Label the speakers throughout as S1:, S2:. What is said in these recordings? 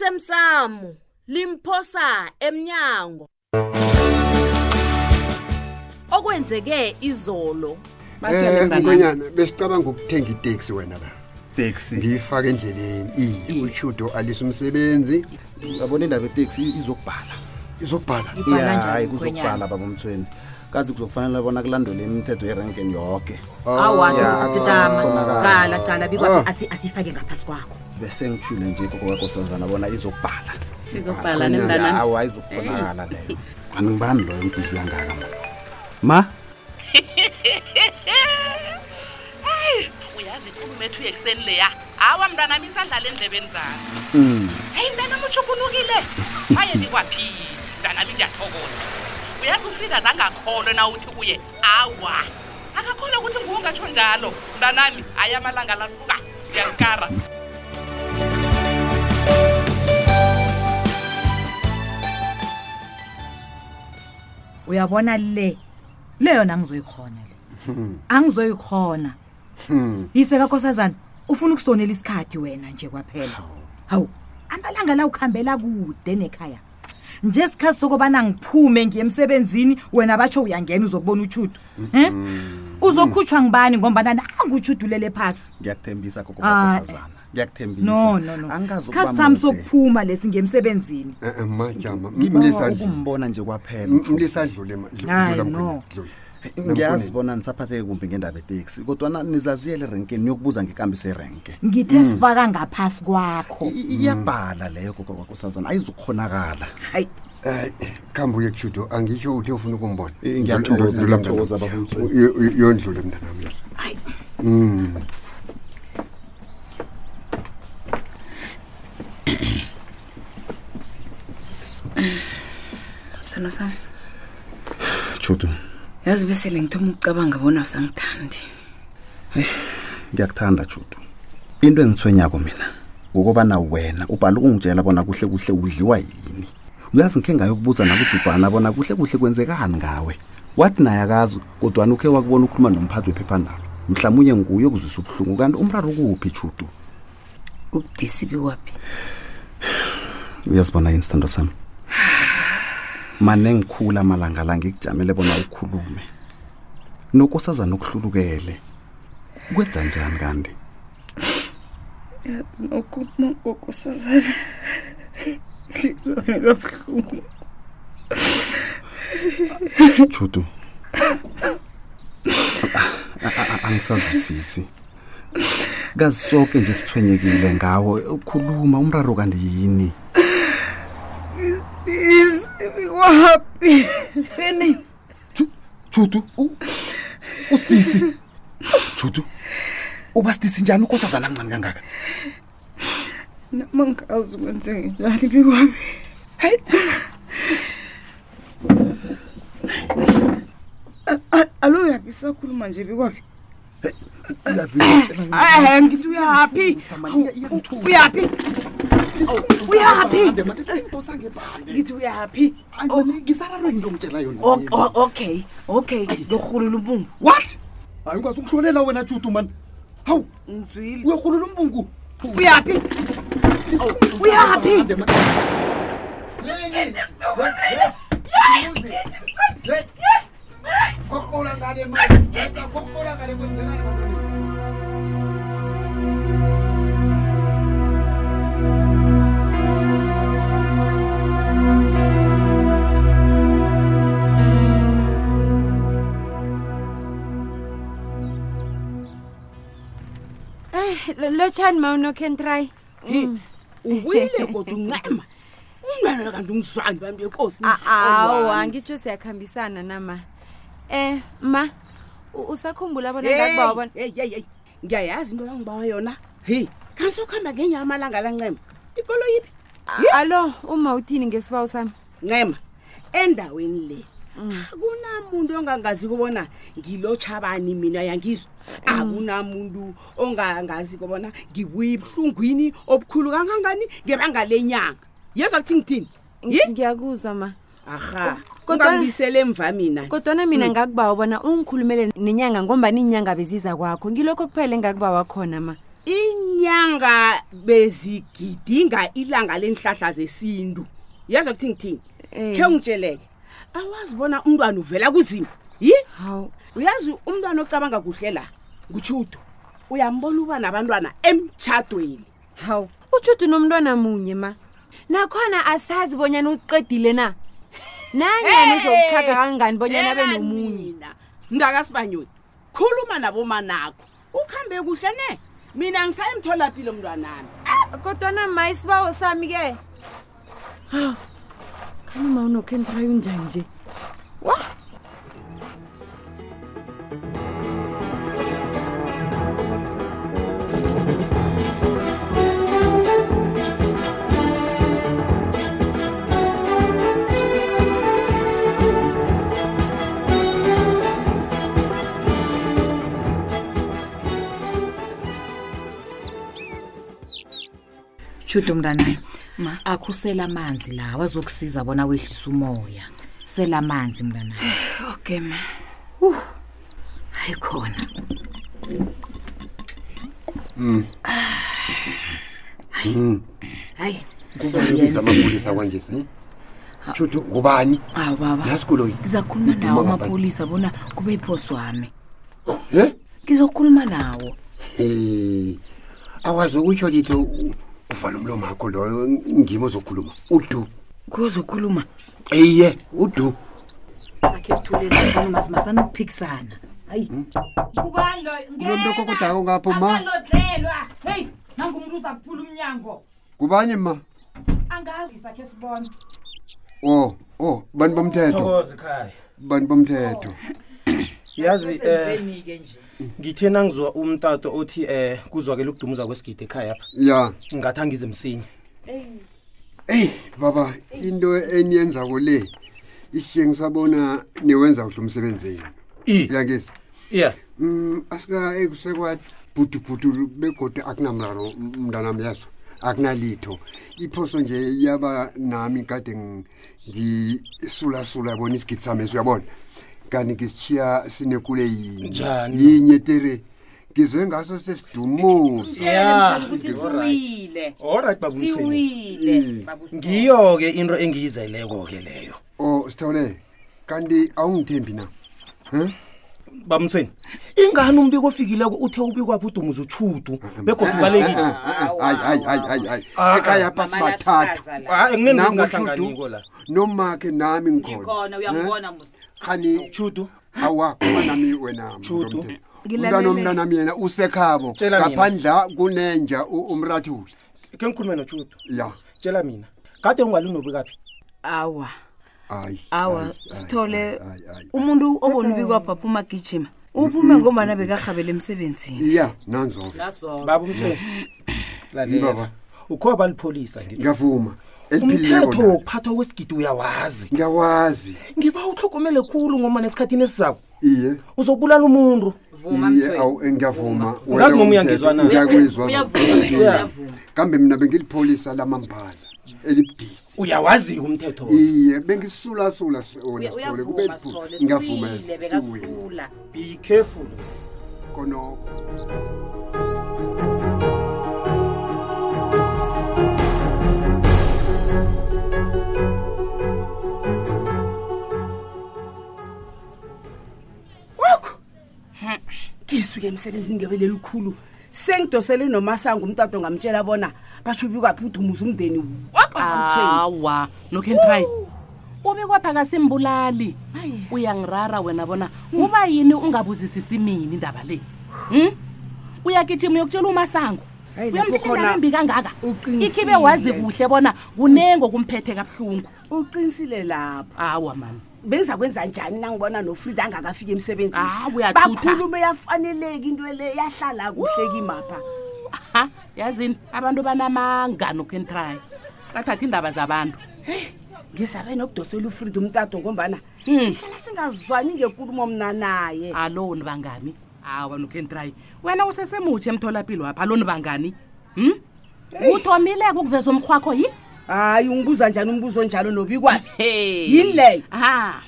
S1: osemsamo limphosa emnyango okwenzeke izolo
S2: Eh,
S3: batshelekana
S2: mkhwenyana besicabanga ukuthenga iteksi wena la
S4: taxi
S2: ngiyifaka endleleni iye ushudo alisa umsebenzi
S5: yabona indaba eteksi izokubhala
S2: izokubhala
S3: Ibhala
S5: Ya,
S3: njani,
S5: hayi,
S3: mkhwenyana?
S5: kuzokubhala baba umthweni kazi kuzokufanele bona kulandele imithetho yerenkeni yoke
S2: Oh,
S3: awaseatetama
S5: iyakhonakala.
S3: qala qala
S2: Ah.
S3: bikwathi athi asifake ngaphasi kwakho
S5: bese ngithule nje kokowakosazana bona izokubhala
S6: izokubhala
S2: Akhona
S6: nemntanami
S5: awa izokubonakala leyo aningibani loyo mbizi kangaka ma ma
S7: hayi uyazi inkulumo ethu yekuseni leya hawa mntwanami isadlala endlebeni zami
S5: Mm.
S7: heyi mntanami utshuphulukile kwaye nikwaphile mntanami ndiyathokoza uyazi ufrida zangakholwe na uthi kuye awa akakholwa ukuthi nguwungatsho njalo mntanami hayi amalanga lasuka ndiyalikara
S8: uyabona le le yona angizoyikhona le angizoyikhona
S5: mm.
S8: yise kakhosazana ufuna ukusonela isikhathi wena nje kwaphela hawu amalanga la ukuhambela kude nekhaya nje isikhathi sokubana ngiphume ngiye emsebenzini wena batsho uyangena uzokubona utshudu um uzokhutshwa ngibani ngombana nangutshudulele phasi
S5: ngiyakuthembisa
S8: Ah,
S5: kokowakosazana ngiyakuthembisa
S8: no no no
S5: Angikazi ukuba
S8: isikhathi sami
S5: mude.
S8: sokuphuma lesi ngiye emsebenzini
S2: Eh, eh, majama
S5: ngibawa
S2: mlisa
S5: ukumbona nje kwaphela
S2: mlisa adlule ma- dlu-
S8: Hayi,
S2: dlula
S8: no.
S2: mkhwenyana, dlula.
S5: ngiyazi bona nisaphatheke kumbi ngendaba eteksi kodwana nizaziyele erenkeni yokubuza ngekambiso erenke
S8: ngithe sifaka ngaphasi kwakho
S5: I- iyabhala leyo kokowakosazana ayizukukhonakala
S8: hayi
S2: Eh, khamba uye kushudo angisho uthi ufuna ukumbona
S5: Eh, ngiyathokoza,
S2: Dlula, dlula,
S5: ngiyathokoza,
S2: mntanami.
S5: baba uMthweni.
S2: Yo- yo- yondlule mntanami
S6: sano sam
S5: chutu
S6: yazi besele ngithoma ukucabanga bona usangithandi
S5: ngiyakuthanda judu into engithwenyako mina ngokobana wena ubhala ukungitshela bona kuhle kuhle udliwa yini uyazi ngikhe ngayokubuza nakujubhana bona kuhle kuhle kwenzekani ngawe wathi naye akazi kodwana ukhe wakubona ukhuluma nomphathi wephephandaba mhlawumunye nguye okuzwisa ubuhlungu kanti umraro kuphi judu
S6: ubudisi biwaphi
S5: uyazibona yini sithando sami mane ngikhula amalanga la ngikujamele bona ukhulume nokosazana okuhlulukele kwenza njani kanti
S6: nokuba ngokosazana lilona kabuhlungu
S5: Judu. Ah, A- a- a- ah, Angisazwisisi. Kazi sonke nje sithwenyekile ngawe. Ukhuluma umraro kanti yini?
S6: isibiwaphi ene
S5: Ju- Judu. u- Usisi. Judu. Uba sidisi njani ukosazana mncane kangaka?
S6: nama ngikazi kwenzeke njani biwaphi A- a- alo uyaphi sakhuluma nje bikwaphi
S5: Uyazitshela
S3: Eh, ngithi uyaphi uyaphi uyaphi ngithi uyaphi
S5: ngisararo into ngitshela yona.
S3: Ok- o- okay okay ngirhulula ubungu
S5: What? Hayi ungazi ukuhlolela wena Judu man. Hawu,
S3: ngizwile
S5: uyahulula umbungu.
S3: uyaphi uyaphi
S9: Eh,
S10: lotshani maunokentry
S3: ubuyile kodwa uncema umntwana kanti ungizwani bambi enkosi
S1: Ah,
S10: Ah,
S9: Oh,
S10: awu angitsho siyakuhambisana nama um ma u- usakhumbula bona ndakubawabona
S3: heyi ngiyayazi into yangibawa yona heyi kansokuhamba ngenye amalanga la ncema ikolo yiphi
S10: alo uma uthini ngesibawu sami
S3: ncema endaweni le akunamuntu ongangazi kubona ngilochabani mina yangizwa akunamuntu ongangazi kubona ngibuye ebuhlungwini obukhulu kangangani ngebanga lenyanga yezwa kuthi ngithini
S10: Ngi- ngiyakuzwa ma
S3: aha
S10: Kodwa-
S3: ungangibuyisele emva mina
S10: kodwana
S9: Mm.
S10: mina ngakubawa bona ungikhulumele nenyanga ngombani inyanga beziza kwakho ngilokho kuphela engakubawa khona ma
S3: inyanga inyanga bezigidinga ilanga lenhlahla zesintu yezwa kuthi ngithini
S9: Eh.
S3: khe ngitsheleke awazi bona umntwana uvela kuzima yi
S9: hawu
S3: uyazi umntwana ocabanga kuhle la ngutshudo uyambona uba nabantwana emtshadweni
S9: hawu utshudu nomntwana munye ma nakhona asazi bonyana uziqedile na nanyani
S3: Hey!
S9: uzokukhaga kangani bonyana abe
S3: Yena
S9: nomunye
S3: mina, mntakasibanyoni khuluma nabomanakho ukuhambe kuhle ne mina ngisayemtholapilo mntwanami
S9: kodwana ma isibawo sami-ke hawu khani ma unokhentrayo unjani nje wa
S8: shudo mntanami akhusela amanzi lawa azokusiza bona wehlise umoya sela amanzi mntanami
S9: okay ma
S8: hayi khona hayi
S2: ubiza amapolisa kwanje shudo ngubani
S8: awu baba
S2: nasikulo
S8: ngizakhuluma nawo amapholisa bona kube iphoso wami
S2: Eh?
S8: ngizokhuluma nawo
S2: um awazi ukutsho litho u- uvala umlomo akho loyo ngimo ozokhuluma udu
S8: kuzokhuluma
S2: iye udu
S8: akhe kuthulelmasanikuphikisana hayi
S11: Hmm?
S2: kulonto kokodako ngapho ma
S8: alodlelwa heyi nangumuntu uza kuphula umnyango
S2: kubanye ma
S8: angazi sakhe sibona
S2: o o bantu bomthetho
S5: thokoze ekhaya
S2: bantu bomthetho
S5: yazi um
S8: zenike nje
S5: ngithe nangizwa umtato othi um kuzwakele ukudumuza kwesigidi ekhaya apha
S2: ya
S5: ngathi angize msinya
S2: eyi baba into eniyenzako le ishiye ngisabona niwenza kuhle umsebenzi yenu
S5: i
S2: yangizi
S5: ya
S2: Mm, asika ekusekwabhudubhudu begodwa akunamraro m- mntanam yaso akunalitho iphoso nje yaba nami kade ng- ngisulasula yabona isigidi sami esiyabona kanti ngisitshiya sinekule yinye
S5: Njani?
S2: yinye tere ngizwe ngaso sesidumuza
S11: Ah,
S5: ya
S3: siwile
S5: allright babumseni
S11: Hmm.
S3: siwile
S5: ngiyo-ke into engiyizeleko-ke leyo
S2: o sithole kanti awungithembi na
S5: bamthweni ingani umuntu ekofikileko uthe ubikwaphi udumuza utshudu begodwa ubalekile
S2: hayi
S5: Ah,
S2: ekhaya phasi bathathu
S5: hayi kunento ezingahlanganiko la
S2: nangutshudu nomake nami ngikhona Eh? khani
S5: tshudu
S2: awakhuma nami wena
S5: Tshudu.
S2: umntwana omntanami yena usekhabo
S5: Tshela mina.
S2: ngaphandla kunenja u- umrathuli
S5: ke ngikhulume notshudu
S2: ya
S5: tshela mina kade ungalinobikaphi
S11: awa
S2: hayi
S11: awa
S2: hayi,
S11: sithole Um
S2: hayi, hayi, hayi.
S11: umuntu obona ubikwapha phuma gijima uphume ngombana bekarhabela emsebenzini
S2: iya nanzo-ke
S5: baba umthweni lalela
S2: Yibaba.
S5: ukhoba balipholisa ngi
S2: ngiyavuma
S5: umthetho
S2: eliphilileko
S5: wokuphathwa kwesigidi uyawazi
S2: ngiyawazi
S5: ngiba uhlogomele khulu ngoma nesikhathini esizako
S2: iye
S5: uzobulala umuntu
S2: iye awu eh, ngiyavuma
S5: Uyazi noma uyangizwa na?
S2: ngiyakwizwa kambe mina bengilipholisa lamambala elibudisi
S5: uyawaziyo umthetho
S2: iye bengisisulasula s- wona sithole kube liphu- ngiyavuma siwile
S5: be careful
S2: konoko
S3: wakho ngisuke emsebenzini ngebele elikhulu sengidosele nomasango umtato ngamtshela bona basho ubikwaphi udumuza umndeni wakho ngamtsheni
S10: awa nokhentry ube kwapha kasimbulali uyangirara wena bona kuba yini ungabuzisisi mini indaba le um uyagijima uyokutshela umasango
S3: Hayi, lapho khona
S10: uyomtshekela embi kangaka
S3: uqinisile.
S10: ikhibe wazi kuhle bona kunengo kumphethe kabuhlungu
S3: uqinisile lapho
S10: awa mani
S3: bengiza kwenza njani nangibona nofrida angakafiki emsebenzini
S10: Ah, uyathutha.
S3: bakhulume yafaneleki into le yahlala kuhle kimapha
S10: ha yazini abantu banamanga nokhentry bathatha iindaba zabantu
S3: ngizabe nokudosela ufrida umtato ngombana
S12: Hmm.
S10: Mm.
S3: sihlala singazwani ngekulumo mna naye
S10: aloni bangani awa nokhentry wena usesemutsha emtholapilo wapha aloni bangani um uthomileko ukuveza umrhwakho yi
S3: hayi ungibuza njani umbuzo onjalo nobikwaphi
S10: Hey.
S3: Yini leyo?
S10: ha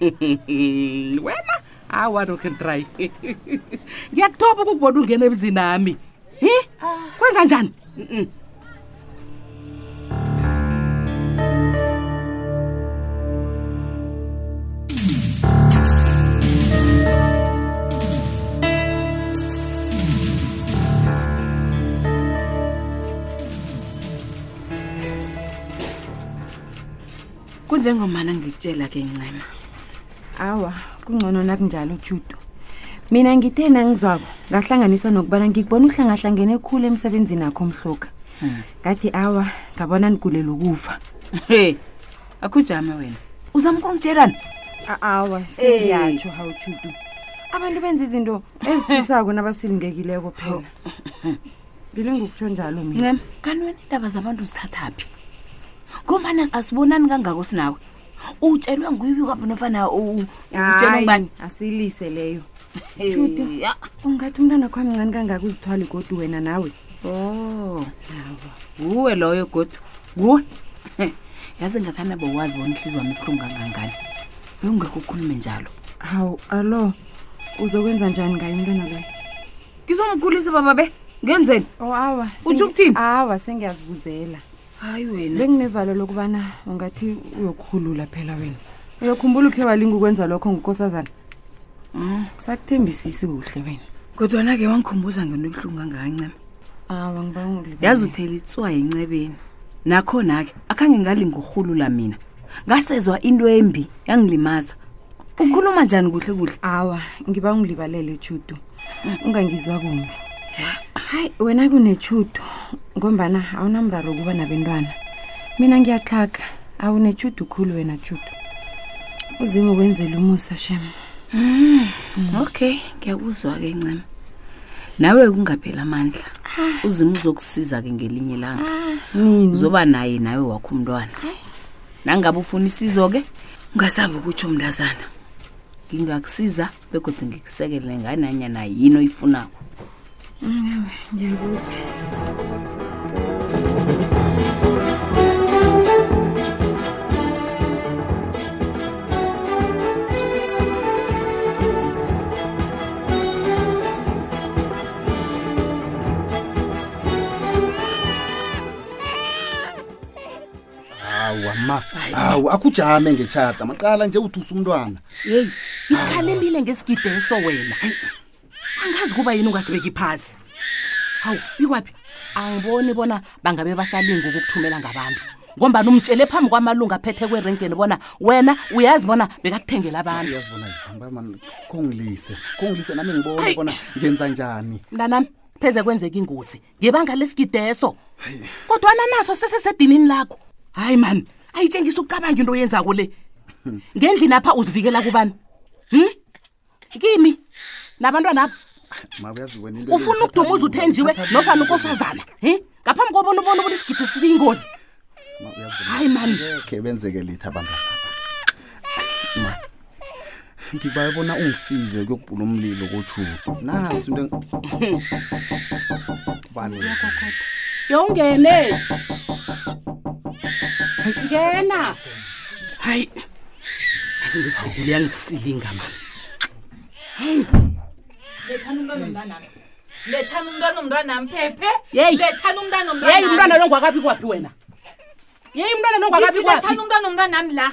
S10: wena awa nokhentry ngiyakuthoba ukukubona ungena emzini ami
S11: hi
S10: Ah.
S11: kwenza njani Mm-mm.
S13: kunjengomana ngikutshela ke ncema
S10: awa kungcono nakunjalo judo mina ngithe nangizwako ngahlanganisa nokubana ngikubona uhlangahlangene khulu emsebenzini akho mhloka ngathi awa ngabona nigulela ukufa
S13: he akhujame wena uzama ukungitshelani
S10: awa sengiyatsho hawu judo abantu benza izinto ezithisako nabasilingekileko phela ngilingukutsho njalo mina
S13: ncema kanti wena iindaba zabantu uzithatha phi ngomana asibonani kangako sinawe utshelwe nguyibi kwapho nofana u- utshelwe
S10: Hayi,
S13: ngubani
S10: asilise leyo Judy, ungathi umntwana kwami ncane kangaka uzithwali kodwa wena nawe
S13: o nguwe loyo godwa nguwe yazi ngathana bowazi bona ihliziyo wami ibuhlungu kangangani bewungekho ukhulume njalo
S10: hawu alo uzokwenza njani ngayo umntwana loyo
S13: ngizomkhulisa baba be ngenzeni
S10: o Oh, awa
S13: Utjho
S10: ukuthini awa sengiyazibuzela
S13: hayi wena
S10: benginevalo lokubana ungathi uyokurhulula phela wena uyakhumbula ukhe walinga ukwenza lokho ngukosazana sakuthembisisi kuhle wena
S13: kodwana-ke wangikhumbuza ngento ebuhlungu kangakancema
S10: awa ngiba
S13: yazi uthela itswa encebeni nakhona-ke akhange ngalingurhulula mina ngasezwa into embi yangilimaza ukhuluma njani kuhle kuhle
S10: awa ngiba ungilibalele judu ungangizwa kumbi hayi wena kunechudo ngombana awunamraro ukuba nabentwana mina ngiyaxhaga awunechudo khulu wena judu uzima ukwenzela umusa shem
S13: okay ngiyakuzwa-ke ncema Ah. nawe kungaphela amandla uzima uzokusiza-ke ngelinye ilanga uzoba naye nawe wakho umntwana nangabe ufuna isizo-ke ungasabi ukutsho mntazana ngingakusiza begodwa ngikusekele ngananyana yini oyifunako
S10: ngiyakuzwa
S5: hawa ma hawu akujame ngechata maqala nje uthusa umntwana
S11: yeyi ngikhalelile ngesigideso wena angazi kuba yini ungasibeki phasi hawu ikwaphi angiboni bona bangabe basalinga ukukuthumela ngabantu ngombani umtshele phambi kwamalungu aphethe kwerenkeni bona wena uyazi bona bekakuthengela abantu
S5: khongilise khongilise nami ngibone bona ngenza njani
S11: mntanami pheze kwenzeka ingozi ngebanga lesigideso kodwana naso sesesedinini lakho hayi mani ayitshengisa ukucabanga into oyenzako le ngendlini apha uzivikela kubani hm kimi nabantwana apha
S5: ma uyazi wena into le
S11: ufuna
S5: ithatha
S11: ukudumuza
S5: mina.
S11: uthenjiwe
S5: Ithatha mina.
S11: nofana ukosazana em ngaphambi kobona ubona ukuthi isigidi siyingozi
S5: Ma, uyazi wena,
S11: Hayi, man.
S5: angekhe benzeke lithi abantu laba. ma ngibaye bona ungisize kuyokubhula umlilo kojudo nasi into eng- bani
S11: yowungene ngena hayi yazi ngesigidi liyangisilinga mani
S14: lethani umntwana omntanami lethani umntwana omntanami phephe
S11: Yeyi.
S14: lethani umntwana
S11: yeyi umntwana lo ngwakabi kwaphi wena yeyi umntwana lo ngwakabi kwaphi
S14: lethani umntwana omntanami la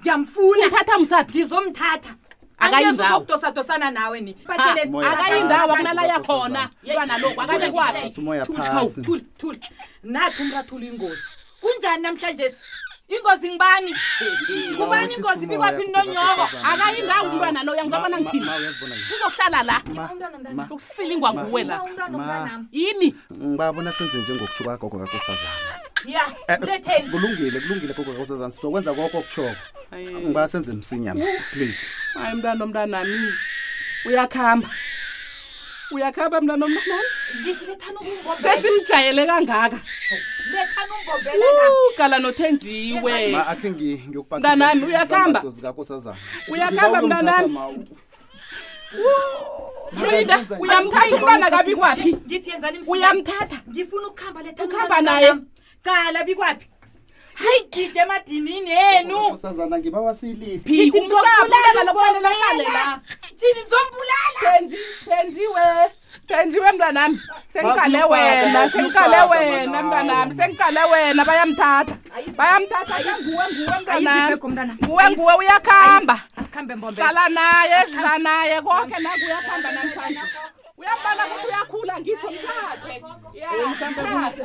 S14: ngiyamfuna
S11: uthatha msaphi
S14: ngizomthatha
S11: Akayi
S14: Angeze
S11: ndawo.
S14: uzokudosadosana nawe ni
S11: Ha, akayindawo akunalaya khona mntwana lo ngwakabi kwaphi
S5: umoya phasi.
S14: thula nathi umrathula ingozi kunjani namhlanje ingozi ngibani kubani
S5: wehlisa
S14: ingozi
S5: umoya,
S14: bikwaphi nonyoko
S5: kukakakazana.
S11: akayindawo umntwana lo uyangizabona ngiphila
S5: Ma, uyazi bona yini?
S11: uzohlala la ukusilingwa
S5: Ma,
S11: nguwe la
S5: ma
S11: yini
S5: ngibabona senze njengokutsho kwagogo kakosazana
S14: ya
S5: Eh,
S14: letheni
S5: kulungile kulungile gogo kakosazana sizokwenza koko okushoko
S11: Hayi.
S5: ngiba senze msinyana please
S11: hayi mntwana omntanami uyakhamba uyakhamba mntwana omntanami
S14: ngithi lethani ukungombela
S11: sesimjayele kangaka
S14: lethani ungombela la
S11: uqala nothenjiwe
S5: ma akhe ngi- ngiyokupakisa
S11: Mntanami, uyakhamba?
S5: izambatho zikakosazana
S11: Uyakhamba,
S5: Ngibawela
S11: mntanami?
S5: umtata, ma.
S11: frida uyamthatha umntwana kabi kwaphi
S14: ngithi yenzani msinya?
S11: uyamthatha
S14: ngifuna ukuhamba lethani
S11: Ukhamba
S14: umntwana
S11: naye.
S14: nami. qala bikwaphi hayi gide emadinini
S8: eh.
S14: enu
S5: Kakosazana, ngibawa silise
S11: phi
S14: Ngithi
S11: umsapho
S14: ngizombulala,
S11: umntwana lo kufanele ahlale la
S14: thini zombulala
S11: thenjiwe
S12: thenjiwe mntwanami sengiqale
S15: Bakuyokuphaka,
S12: wena sengiqale
S15: bakuyokuphaka,
S12: wena mntwanami sengiqale wena bayamthatha bayamthatha nguwe nguwe mntwanami nguwe nguwe uyakuhamba hlala naye sidla naye konke naku uyakuhamba namhlanje uyambala ukuthi uyakhula ngitsho mthathe Ya, mthathe, mthathe. Mthathe,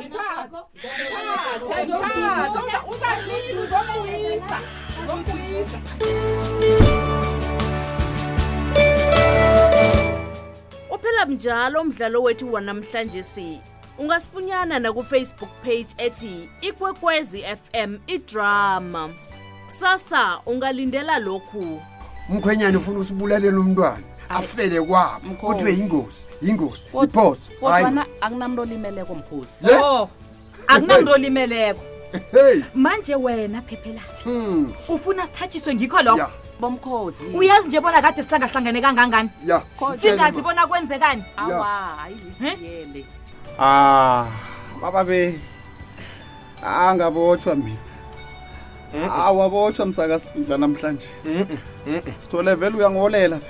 S12: mthathe. Uza- uzalila uzombuyisa uzombuyisa
S3: uphela mnjalo umdlalo wethu wanamhlanje si ungasifunyana nakufacebook page ethi ikwekwezi fm idrama kusasa ungalindela lokhu
S2: umkhwenyana ufuna usibulalela umntwana afele kwabo
S11: Mkhosi.
S2: kuthiwe yingozi yingozi
S11: Kodwa-
S2: iphoso
S11: kodwana akunamntu olimeleko mkhosi
S2: Ye.
S8: Oh, akunamntu olimeleko manje wena phephelana ufuna sithatshiswe ngikho lokho
S11: Ya. bomkhosi
S8: uyazi nje bona kade sihlangahlangane kangangani
S2: ya
S8: singazi bona kwenzekani
S11: awa ayizishiyele
S5: ah bababe angabotshwa mina awabotshwa msakasibhila namhlanje sithole vele uyangiholela